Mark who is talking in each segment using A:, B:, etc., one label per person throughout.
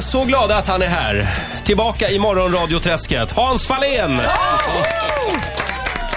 A: så glada att han är här. Tillbaka i morgonradioträsket. Hans Fahlén!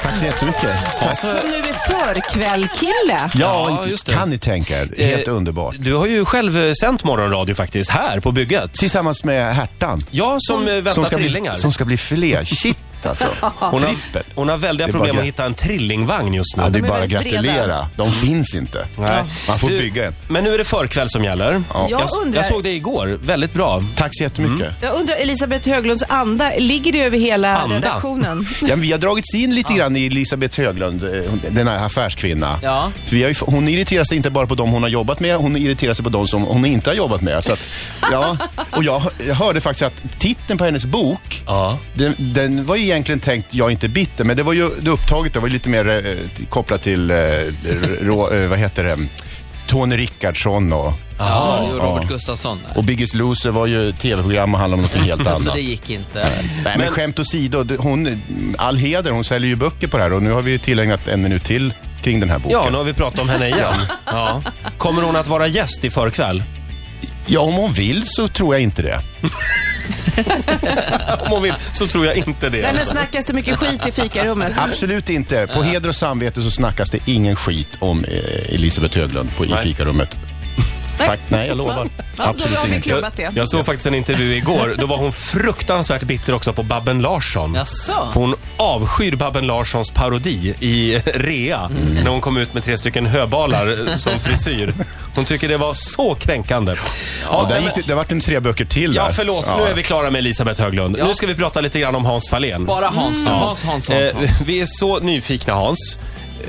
B: Tack så jättemycket. Tack.
C: Som Alltså, nu är förkvällkille.
A: Ja,
B: Ja,
A: just det.
B: kan ni tänka er. Helt
A: Eh,
B: underbart.
A: Du har ju själv eh, sänt morgonradio faktiskt, här på bygget.
B: Tillsammans med Hertan.
A: Ja, som eh, väntar
B: Som ska, bli,
A: trillingar.
B: som ska bli filer. Shit alltså.
A: Hon har,
B: Trippel.
A: hon har väldiga
B: Det är
A: problem
B: bara-
A: att hitta en trillingvagn just nu.
B: Ja, det är
C: är
B: bara att
C: väldigt
B: gratulera.
C: breda.
B: De finns inte.
A: Mm. Nej.
B: Man får
A: Du,
B: bygga en.
A: Men nu är det förkväll som gäller.
C: Jag
A: jag,
C: undrar-
A: jag såg det igår, väldigt bra.
B: Tack så jättemycket.
A: Mm.
C: Jag undrar, Elisabeth Höglunds anda, ligger det över hela
A: Anda?
C: redaktionen?
B: Ja, vi har dragits in lite grann i Elisabeth Höglund, eh, hon- den här affärskvinna.
D: Ja.
B: För vi har ju, f- hon irriterar sig inte bara på dem hon har jobbat med, hon irriterar sig på dem som hon inte har jobbat med. Så att, ja. Och jag, jag hörde faktiskt att titeln på hennes bok,
A: Ja.
B: den, den var ju egentligen tänkt Jag är inte bitter, men det var ju det upptaget, det var ju lite mer eh, kopplat till, eh, rå, eh, vad heter det, Tony Rickardsson och,
D: Ja, det gjorde Robert Gustafsson. där.
B: och Biggest Loser var ju tv-program och handlade om något helt annat.
D: Så det gick inte.
B: Nej, men, skämt åsido, det- hon, all heder, hon säljer ju böcker på det här och nu har vi ju tillägnat en minut till kring den här boken.
A: Ja, nu har vi pratat om henne igen. Ja. Kommer hon att vara gäst i förkväll?
B: Ja, om hon vill så tror jag inte det.
A: Om hon vill, så tror jag inte det.
C: Nej, men
A: alltså.
C: snackas det mycket skit i fikarummet?
B: Absolut inte. På heder och samvete så snackas det ingen skit om eh, Elisabeth Höglund på, i fikarummet. Tack, nej jag lovar.
C: Ja, då
B: Absolut
C: har vi
B: ingenting.
C: klubbat det.
A: Jag såg faktiskt en intervju igår. Då var hon fruktansvärt bitter också på Babben Larsson.
D: Jaså?
A: För Hon avskyr Babben Larssons parodi i rea
D: Mm.
A: när hon kom ut med tre stycken höbalar som frisyr. Hon tycker det var så kränkande. Ja,
B: Ja, där gick det, det vart en tre böcker till
A: ja
B: där.
A: förlåt.
B: Ja.
A: Nu är vi klara med Elisabeth Höglund. Nu ska vi prata lite grann om Hans Fahlén.
D: Bara Hans nu. Hans, Hans, Hans,
A: Eh,
D: Hans.
A: vi är så nyfikna, Hans,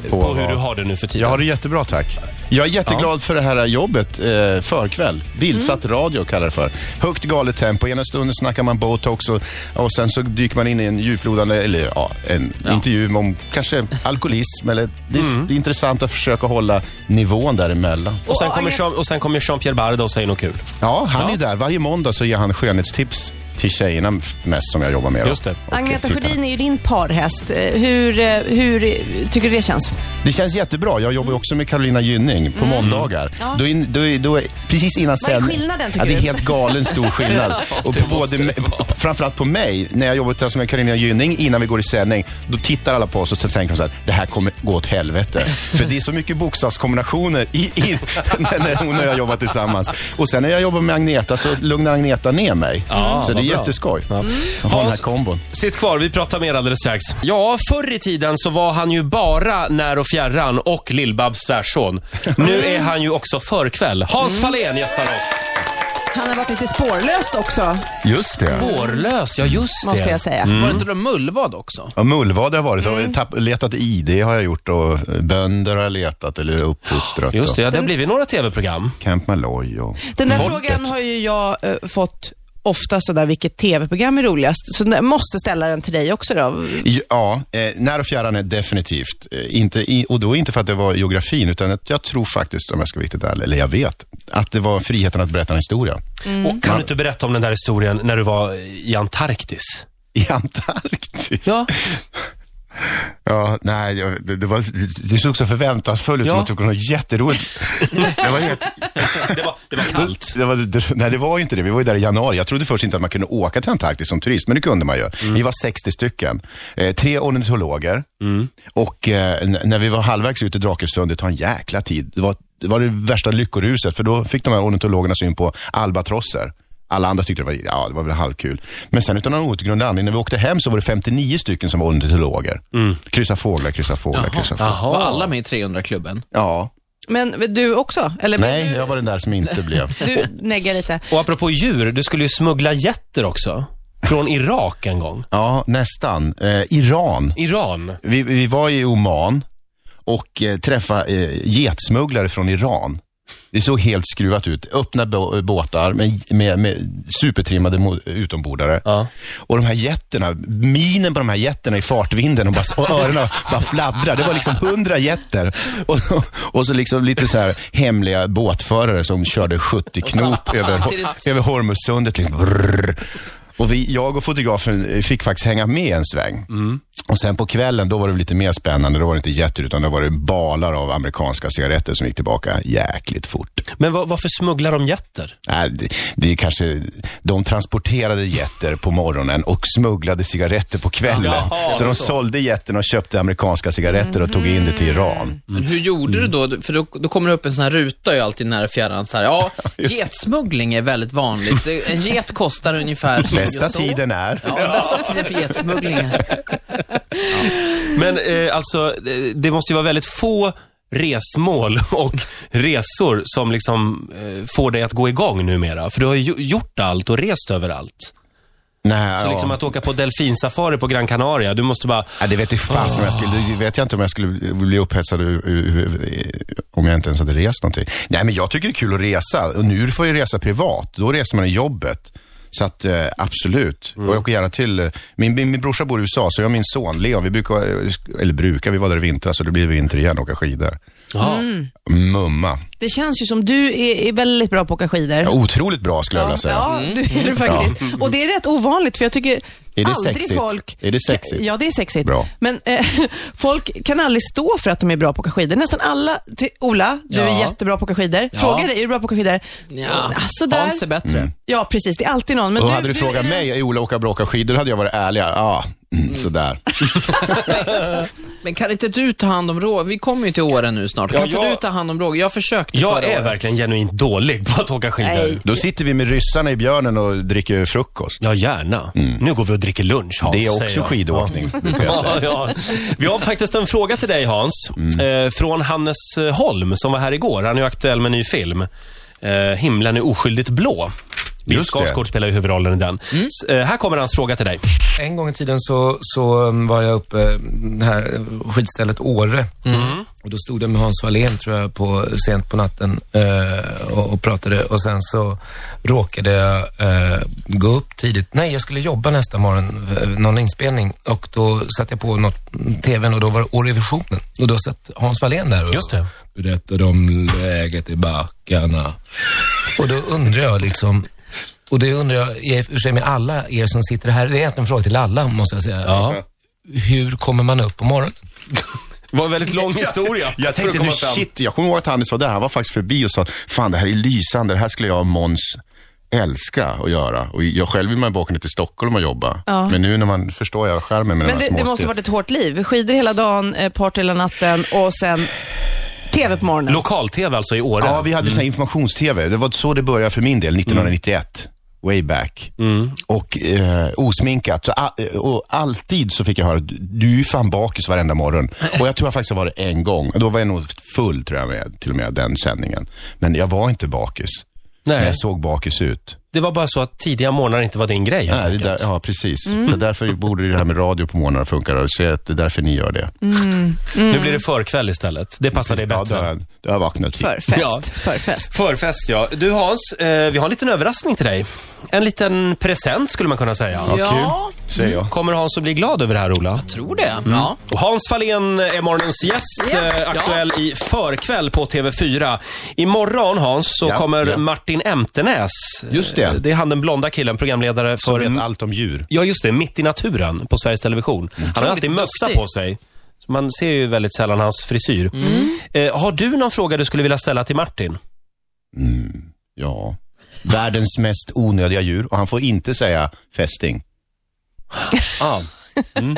A: eh, på,
B: På
A: hur
B: vad?
A: du har det nu för tiden.
B: Jag har det jättebra, tack. Jag är jätteglad för det här jobbet eh, förkväll. Bildsatt radio kallar det för. Högt galet tempo. Ena stunden snackar man botox och, och sen så dyker man in i en djuplodande, eller ja, en intervju om kanske alkoholism eller det är, s- det är intressant att försöka hålla nivån däremellan.
A: Och sen
C: Åh,
A: kommer
C: jag-
A: Jean- och sen kommer Jean-Pierre Barda och säger något kul.
B: Ja, han är där. Varje måndag så ger han skönhetstips till tjejerna f- mest som jag jobbar med. då.
A: Just det.
B: Och typ
C: Agneta
B: tittarna.
C: Sjödin är ju din parhäst. Eh, Hur, eh, hur eh, tycker du det känns?
B: Det känns jättebra. Jag jobbar ju också med Carolina Gynning på måndagar. Då är, då är, då är, precis innan
C: Mm. Vad är
B: sändning-
C: skillnaden, tycker
B: ja, Det är
C: du?
B: helt galen stor skillnad. Och på både, me- framförallt på mig, när jag jobbar tillsammans med Carolina Gynning innan vi går i sändning, då tittar alla på oss och så tänker de så här, det här kommer gå åt helvete. För det är så mycket bokstavskombinationer i, i, när när hon och jag jobbar tillsammans. Och sen när jag jobbar med Agneta så lugnar Agneta ner mig. så det
A: vad
B: är
A: bra.
B: jätteskoj att ha den
C: Mm.
B: här
A: Hans-
B: kombon.
A: Mm. Sitt kvar, vi pratar mer alldeles strax. Ja, förr i tiden så var han ju bara När och fjärran och Lill-Babs svärson. Nu är han ju också förkväll. Hans Fahlén gästar oss.
C: Han har varit lite spårlöst också,
B: Just det.
A: Spårlös, ja just det.
C: måste jag säga.
A: Mm.
D: Var det inte då mullvad också?
B: Ja, mullvad har jag varit. Jag har tapp, letat ID har jag gjort och bönder har jag letat eller uppfostrat.
A: Just det, ja, det har blivit några tv-program.
B: Och Camp Malloy och...
C: Den där
B: Folket.
C: frågan har ju jag eh, fått ofta sådär, vilket tv-program är roligast? Så jag måste ställa den till dig också då.
B: Ja, eh, när och fjärran är definitivt. Eh, inte i, och då inte för att det var geografin, utan att jag tror faktiskt, om jag ska vara riktigt ärlig, eller jag vet, att det var friheten att berätta en historia.
A: Och kan du inte berätta om den där historien när du var i Antarktis?
B: I Antarktis.
D: Ja.
B: Ja, nej, jag- det, det, var, det såg så förväntansfullt ut.
A: Ja.
B: Man tyckte det var jätteroligt. det var helt,
A: Det var, det var kallt.
B: Det var, det, nej, det var ju inte det. Vi var ju där i januari. Jag trodde först inte att man kunde åka till Antarktis som turist, men det kunde man ju. Vi var 60 stycken. Eh, tre ornitologer. Och eh, n- när vi var halvvägs ut i Drakesund, det tar en jäkla tid. Det var, det var det värsta lyckoruset, för då fick de här ornitologerna syn på albatrosser. Alla andra tyckte det var, ja, det var väl halvkul. Men sen utan någon outgrundlig anledning, när vi åkte hem så var det 59 stycken som var ornitologer. Kryssa fåglar, kryssa fåglar, kryssa fåglar.
D: Var alla med i 300-klubben?
B: Ja.
C: Men du också? Eller blev
B: Nej,
C: du,
B: jag var den där som inte blev.
C: du neggar lite.
A: Och apropå djur, du skulle ju smuggla getter också. Från Irak en gång.
B: Ja, nästan. Eh, Iran.
A: Iran.
B: Vi, vi var i Oman och eh, träffade eh, getsmugglare från Iran. Det såg helt skruvat ut. Öppna bå- båtar med, med, med supertrimmade mo- utombordare.
A: Ja.
B: Och de här jätterna, minen på de här jätterna i fartvinden och, bara, och öronen bara fladdrar. Det var liksom hundra jätter. Och, och så liksom lite så här hemliga båtförare som körde 70 knop över,
D: samtidigt-
B: över Hormuzsundet. Liksom. Brrr. Och vi, jag och fotografen eh, fick faktiskt hänga med en sväng. Och sen på kvällen, då var det lite mer spännande. Då var det inte jätter, utan då var det balar av amerikanska cigaretter som gick tillbaka jäkligt fort.
A: Men va- varför smugglar de jätter?
B: Nej, det, det är kanske, de transporterade jätter på morgonen och smugglade cigaretter på kvällen.
A: Jaha,
B: så de
A: så.
B: sålde jätterna och köpte amerikanska cigaretter och tog in det till Iran.
D: Men
A: Mm.
D: hur gjorde du då? För då, då kommer det upp en sån här ruta ju alltid nära fjärran. Så här, ja, getsmuggling är väldigt vanligt. Det- En get kostar ungefär...
B: Bästa
D: så.
B: tiden är...
D: Ja, bästa tiden för getsmuggling. är-
A: Men eh, alltså, eh, det måste ju vara väldigt få resmål och resor som liksom eh, får dig att gå igång numera. För du har ju gjo- gjort allt och rest överallt.
B: Nej,
A: Så
B: ja.
A: liksom att åka på delfinsafari på Gran Canaria, du måste bara...
B: Ja, det vet jag fasen om jag skulle, det vet jag inte om jag skulle bli upphetsad u- u- u- om jag inte ens hade rest någonting. Nej, men jag tycker det är kul att resa. Och nu får jag ju resa privat. Då reser man i jobbet. Så att eh, absolut. Och jag åker gärna till, eh, min, min, min brorsa bor i USA, så jag och min son Leon, vi brukar, eh, sk- eller brukar, vi var där i vintras så det blir vinter igen och åka skidor.
A: Ja.
B: Mumma.
C: Det känns ju som du är, är väldigt bra på att åka skidor.
B: Ja, otroligt bra skulle jag vilja säga. Mm.
C: Ja, du är det faktiskt. Och det är rätt ovanligt för jag tycker
B: det
C: aldrig
B: sexigt?
C: folk...
B: Är det sexigt?
C: Ja, det är sexigt.
B: Bra.
C: Men eh, folk kan aldrig stå för att de är bra på att åka skidor. Nästan alla... Till, Ola, du är
D: Ja.
C: jättebra på att åka skidor. Fråga dig, är du bra på att åka skidor?
D: Ja.
C: Alltså där.
D: Hans är bättre.
A: Mm.
C: Ja, precis. Det är alltid någon. Men
B: Och
C: du,
B: hade du
C: du
B: frågat
C: är-
B: mig, är Ola åka bra åka skidor, hade jag varit ärlig. Ja, mm, sådär.
D: Men kan inte du ta hand om Roger? Vi kommer ju till Åre nu snart. Kan
A: Ja,
D: inte
A: jag-
D: du ta hand om Roger? Jag försökte
A: Jag
D: förra
A: är
D: året.
A: verkligen genuint dålig på att åka skidor.
C: Nej.
B: Då sitter vi med ryssarna i björnen och dricker frukost.
A: Ja, gärna. Nu går vi och dricker lunch, Hans.
B: Mm. Det är
A: säger
B: också
A: jag.
B: skidåkning, brukar jag
A: Ja,
B: säga.
A: ja. Vi har faktiskt en fråga till dig Hans. Eh, från Hannes eh, Holm som var här igår. Han är ju aktuell med en ny film. Eh, Himlen är oskyldigt blå. Bill
B: Just det.
A: Skarsgård spelar ju huvudrollen i den. S- eh, här kommer hans fråga till dig.
E: En gång i tiden så, så um, var jag uppe eh, det här eh, skidstället Åre.
A: Mm.
E: Mm. Och då stod jag med Hans Wallén, tror jag, på, sent på natten eh, och, och pratade. Och sen så råkade jag eh, gå upp tidigt. Nej, jag skulle jobba nästa morgon, eh, någon inspelning. Och då satte jag på något, TVn och då var det Årevisionen. Och då satt Hans Wallén där och
A: Just det.
E: berättade om läget i backarna. Och då undrar jag liksom, och det undrar jag i och för sig med alla er som sitter här, det är egentligen en fråga till alla måste jag säga. Hur kommer man upp på morgonen?
A: Det var en väldigt lång historia. för
B: Jag
A: att
B: tänkte
A: komma
B: nu,
A: fram.
B: shit, jag kommer ihåg att Hannes var där. Han var faktiskt förbi och sa, fan det här är lysande, det här skulle jag och Måns älska att göra. Och jag själv vill man ju bara åka ner till Stockholm och jobba.
C: Ja.
B: Men nu när man förstår jag skärmen med
C: Men
B: de här
C: det, det måste
B: småstegen.
C: varit ett hårt liv. Skidor hela dagen, eh, party hela natten och sen TV på morgonen.
A: Lokal-TV alltså i Åre.
B: Ja, vi hade mm. informations-tv. Det var så det började för min del, 1991. Way back. Och eh, osminkat. Så, a- och alltid så fick jag höra, "Du- du är ju fan bakis varenda morgon. Och jag tror jag faktiskt var det en gång. Då var jag nog full, tror jag, med, till och med den sändningen. Men jag var inte bakis. Men
A: Nej,
B: jag såg bakis ut.
A: det var bara så att tidiga morgnar inte var din grej. helt
B: Nej, det
A: enkelt.
B: där, ja, precis. Så därför borde det här med radio på morgnarna funka. Och se att det är därför ni gör det.
A: Nu blir det förkväll istället. Det passar dig
B: Ja, då har
A: bättre.
B: jag, då har jag vaknat till.
C: För fest.
A: Ja.
C: För fest.
A: Förfest, ja. Du Hans, eh, vi har en liten överraskning till dig. En liten present skulle man kunna säga.
B: Ja,
D: Ja.
B: kul, säger jag.
A: Kommer Hans att bli glad över det här, Ola? Mm.
D: Tror det? Ja.
A: Och Hans Fahlén är morgonens gäst,
D: Ja.
A: eh, aktuell i förkväll på TV4. Imorgon Hans så
B: Ja,
A: kommer
B: ja.
A: Martin Emtenäs.
B: Just det.
A: Eh, Det är han den blonda killen, programledare
B: Som
A: för...
B: vet allt Mm. om djur.
A: Ja, just det. Mitt i naturen på Sveriges Television. Han har alltid mössa
D: duktig.
A: på sig. Så Man ser ju väldigt sällan hans frisyr.
D: Mm.
A: Eh, har du någon fråga du skulle vilja ställa till Martin?
B: Ja. Världens mest onödiga djur och han får inte säga fästing.
A: Ja. Mm.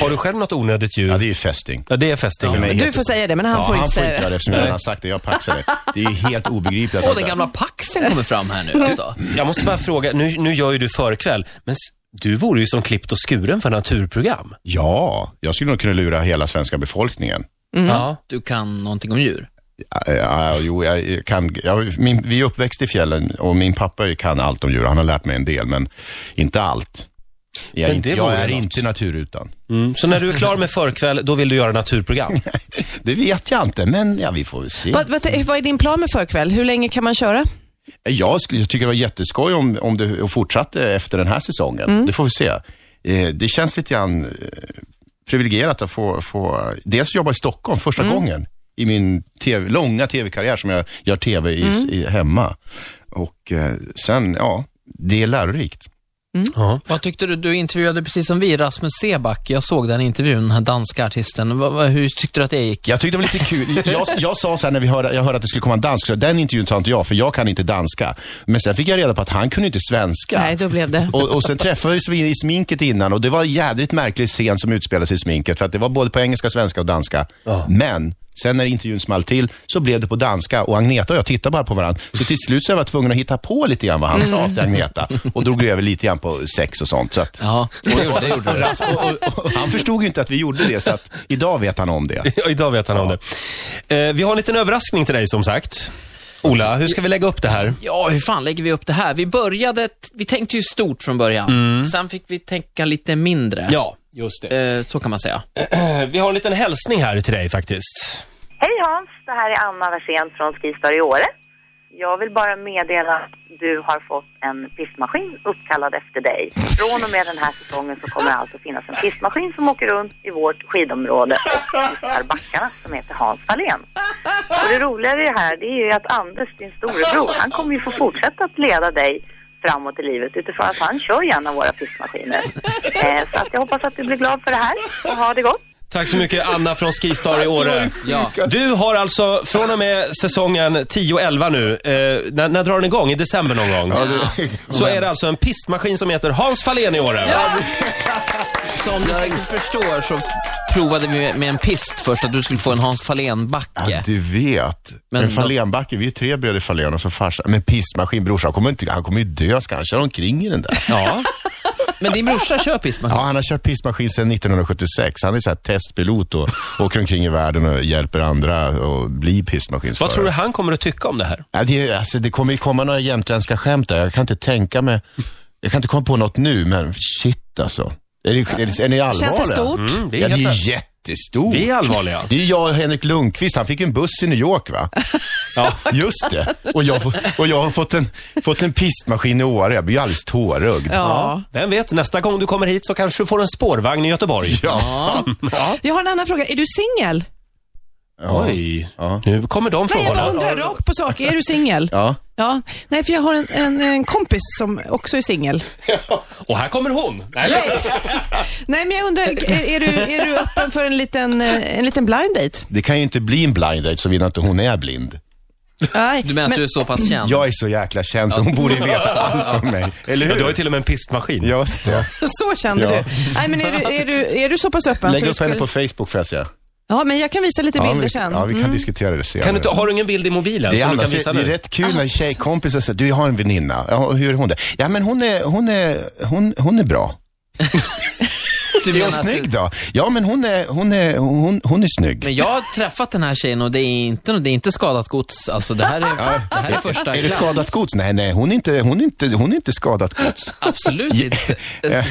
A: Har du själv något onödigt djur?
B: Ja, det är ju fästing.
A: Ja, det är fästing.
B: För mig
C: Du
B: heter-
C: får säga det, men han
B: ja,
C: får
B: han
C: inte
B: får
C: säga
B: inte
C: det.
B: göra det eftersom jag redan har sagt det. Jag paxar det. Det är ju helt obegripligt.
D: Åh, den gamla paxen kommer fram här nu alltså.
A: Jag måste bara fråga, nu, nu gör ju du förkväll, men s- du vore ju som klippt och skuren för naturprogram.
B: Ja, jag skulle nog kunna lura hela svenska befolkningen.
A: Mm.
D: Ja. Du kan någonting om djur.
B: Ja, ja, jo, jag kan, jag, min, vi är uppväxt i fjällen och min pappa kan allt om djur. Han har lärt mig en del, men inte allt. Jag, är
A: Men
B: inte,
A: det
B: jag
A: vore
B: är
A: något.
B: inte naturutan.
A: Mm. Så när du är klar med förkväll, då vill du göra naturprogram.
B: Det vet jag inte, men ja, vi får väl se.
C: Vad, vad, vad är din plan med förkväll? Hur länge kan man köra?
B: Jag, skulle, jag tycker det var jätteskoj om, om det fortsatte efter den här säsongen.
C: Mm.
B: Det får vi se. Eh, det känns lite grann eh, privilegierat att få, få dels jobba i Stockholm första
C: Mm.
B: gången i min TV, långa tv-karriär som jag gör
C: Mm.
B: tv i, i, hemma. Och eh, sen, ja, det är lärorikt.
A: Ja.
D: Vad tyckte du? Du intervjuade precis som vi Rasmus Seback. Jag såg den intervjun, den här danska artisten. Vad- vad- hur tyckte du att det gick?
B: Jag tyckte det var lite kul. Jag, jag sa så här när vi hörde, jag hörde att det skulle komma en dansk, så den intervjun tar inte jag, för jag kan inte danska. Men sen fick jag reda på att han kunde inte svenska.
C: Nej, då blev det.
B: Och, och sen träffades vi i sminket innan och det var en jädrigt märklig scen som utspelade sig i sminket. För att det var både på engelska, svenska och danska. Men sen när intervjun small till så blev det på danska och Agneta och jag tittade bara på varandra. Så till slut så var jag tvungen att hitta på lite grann vad han sa till Agneta. Och drog över lite grann på sex och sånt. Så att,
D: Ja, det gjorde, det gjorde du.
B: och, och, och, han förstod ju inte att vi gjorde det, så att idag vet han om det.
A: Ja, Idag vet han om det. Eh, vi har en liten överraskning till dig som sagt. Ola, hur ska vi lägga upp det här?
D: Ja, hur fan lägger vi upp det här? Vi började, t- vi tänkte ju stort från början.
B: Mm.
D: Sen fick vi tänka lite mindre.
A: Ja, just det.
D: Eh, så kan man säga.
A: Eh, Vi har en liten hälsning här till dig faktiskt.
F: Hej Hans, det här är Anna Versén från Skistar i Åre. Jag vill bara meddela att du har fått en pissmaskin uppkallad efter dig. Från och med den här säsongen så kommer det alltså finnas en pissmaskin som åker runt i vårt skidområde och skissar backarna som heter Hans Fahlén. Och det roliga i det här det är ju att Anders, din storebror, han kommer ju få fortsätta att leda dig framåt i livet utifrån att han kör ju en av våra pissmaskiner. Eh, så att jag hoppas att du blir glad för det här och ha det gott.
A: Tack så mycket Anna från Skistar i Åre.
D: Ja.
A: Du har alltså från och med säsongen 10-11 nu, eh, när, när drar den igång? I december någon gång? Så är det alltså en pistmaskin som heter Hans Fahlén i Åre.
D: Som du säkert förstår så provade vi med- med en pist först, att du skulle få en Hans Fahlén-backe.
B: Du vet.
D: Men
B: Men, Fahlénbacke, vi är tre bröder Fahlén och så farsa. Men pissmaskin, brorsan, han kommer, inte, han kommer ju dö, ska han köra omkring i den där?
D: Ja. Men din brorsa kör pistmaskin.
B: Ja, han har kört pissmaskin sedan 1976. Han är så här testpilot och åker omkring i världen och hjälper andra att bli pissmaskinsförare.
A: Vad tror du han kommer att tycka om det här?
B: Ja, det, alltså, det kommer ju komma några jämtländska skämt där. Jag kan inte tänka mig... Jag kan inte komma på något nu, men shit alltså. Är, det, är, det, är ni allvarliga?
C: Känns det stort?
A: Mm, det
B: Ja,
A: är
B: det
A: helt...
B: är jättestort.
A: Vi är allvarliga.
B: Det är jag och Henrik Lundqvist. Han fick en buss i New York, va? Ja, just det. Och jag, får- och jag har fått en, fått en pistmaskin i Åre. Jag blir ju alldeles tårögd.
C: Ja.
A: Vem vet, nästa gång du kommer hit så kanske du får en spårvagn i Göteborg.
B: Ja.
C: Jag har en annan fråga. Är du singel?
A: Oj, nu kommer de
C: Nej, jag bara
A: frågorna.
C: undrar rakt på sak. Är du singel?
B: Ja.
C: Ja. Nej, för jag har en, en, en kompis som också är singel.
A: Och här kommer hon. Nej,
C: Nej, men jag undrar, är, är, du, är du öppen för en liten, eh, en liten blind date?
B: Det kan ju inte bli en blind date såvida inte hon är blind.
C: Nej,
D: Du menar att du är så pass känd?
B: Jag är så jäkla känd så hon borde ju veta allt om mig. Eller
A: Ja,
B: hur?
A: du har ju till och med en pistmaskin.
B: Just det.
C: så kände
B: Ja.
C: du. Nej, men är du, är du, är du så pass öppen? så
B: Lägg
C: du
B: upp henne på Facebook får jag se.
C: Ja, men jag kan visa lite
B: Ja,
C: bilder
B: vi,
C: sen.
B: ja, vi kan diskutera det senare.
A: Mm. Kan du, inte- har du ingen bild i mobilen
B: det är,
A: som du
B: annars,
A: kan visa
B: det är
A: nu?
B: rätt kul när tjejkompisar säger, du jag har en väninna, ja, hur är hon det? Ja men hon är, hon är, hon, hon är bra.
D: Du
B: Är
D: menar
B: hon
D: att
B: snygg då? Ja men hon är, hon är, hon, hon är snygg.
D: Men jag har träffat den här tjejen och det är inte, det är inte skadat gods. Alltså det här är, det här är första
B: är det
D: klass.
B: skadat gods? Nej, nej, hon är inte, hon är inte, hon är inte skadat gods.
D: Absolut inte.
B: Eh,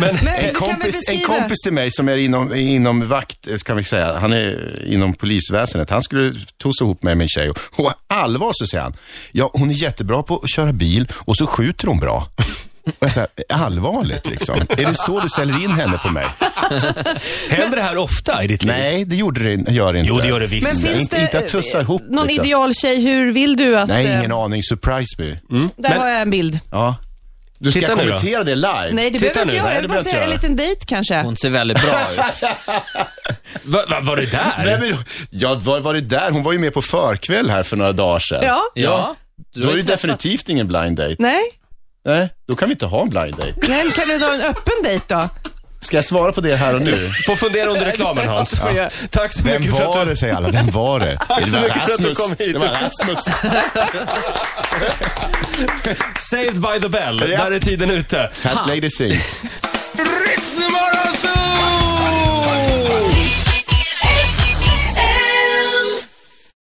C: Men du
B: En
C: kan väl
B: kompis, en
C: beskriva-
B: kompis till mig som är inom, inom vakt, eh, kan vi säga, han är inom polisväsendet. Han skulle tosa ihop mig med en tjej och, och allvar så säger han, ja hon är jättebra på att köra bil och så skjuter hon bra. Och jag säger, allvarligt liksom. Är det så du säljer in henne på mig?
A: Händer det här ofta i ditt liv?
B: Nej, det gjorde det, in- gör det inte.
A: Jo, det gör det visst.
C: Men finns
B: Inte-
C: det
B: inte att tussa ihop,
C: någon
B: liksom.
C: idealtjej? Hur vill du att...
B: Nej, ingen
C: eh,
B: aning. Surprise me.
C: Där
A: Men-
C: har jag en bild.
B: Ja. Du ska
A: Titta nu då.
B: kommentera det live.
C: Nej, det
A: Titta
C: behöver du inte
A: nu.
C: göra.
A: Nej,
C: Jag
A: det
C: vill bara
A: behöver
C: säga en
A: inte
C: liten dejt kanske.
D: Hon ser väldigt bra ut.
A: Va, va, var det
B: Nej,
A: där?
B: men, ja, var, var det där? Hon var ju med på förkväll här för några dagar sedan.
C: Ja.
D: Ja. Du
B: Då
D: har
B: är
D: ju
B: det
D: träffat-
B: definitivt ingen blind date.
C: Nej.
B: Nej, Eh? då kan vi inte ha en blind date.
C: Nej, men kan du ta en öppen dejt då?
B: Ska jag svara på det här och nu?
A: Får fundera under reklamen, Hans. Ja. Tack så
B: Vem
A: mycket för
B: var
A: att du...
B: det, säger alla. Vem var det?
A: Tack så
B: Det var
A: mycket för att du
B: Rasmus.
A: kom hit.
B: Det var Rasmus.
A: Saved by the bell. Där är tiden ute.
B: Fat Lady Sings.
A: Ritzmorgon!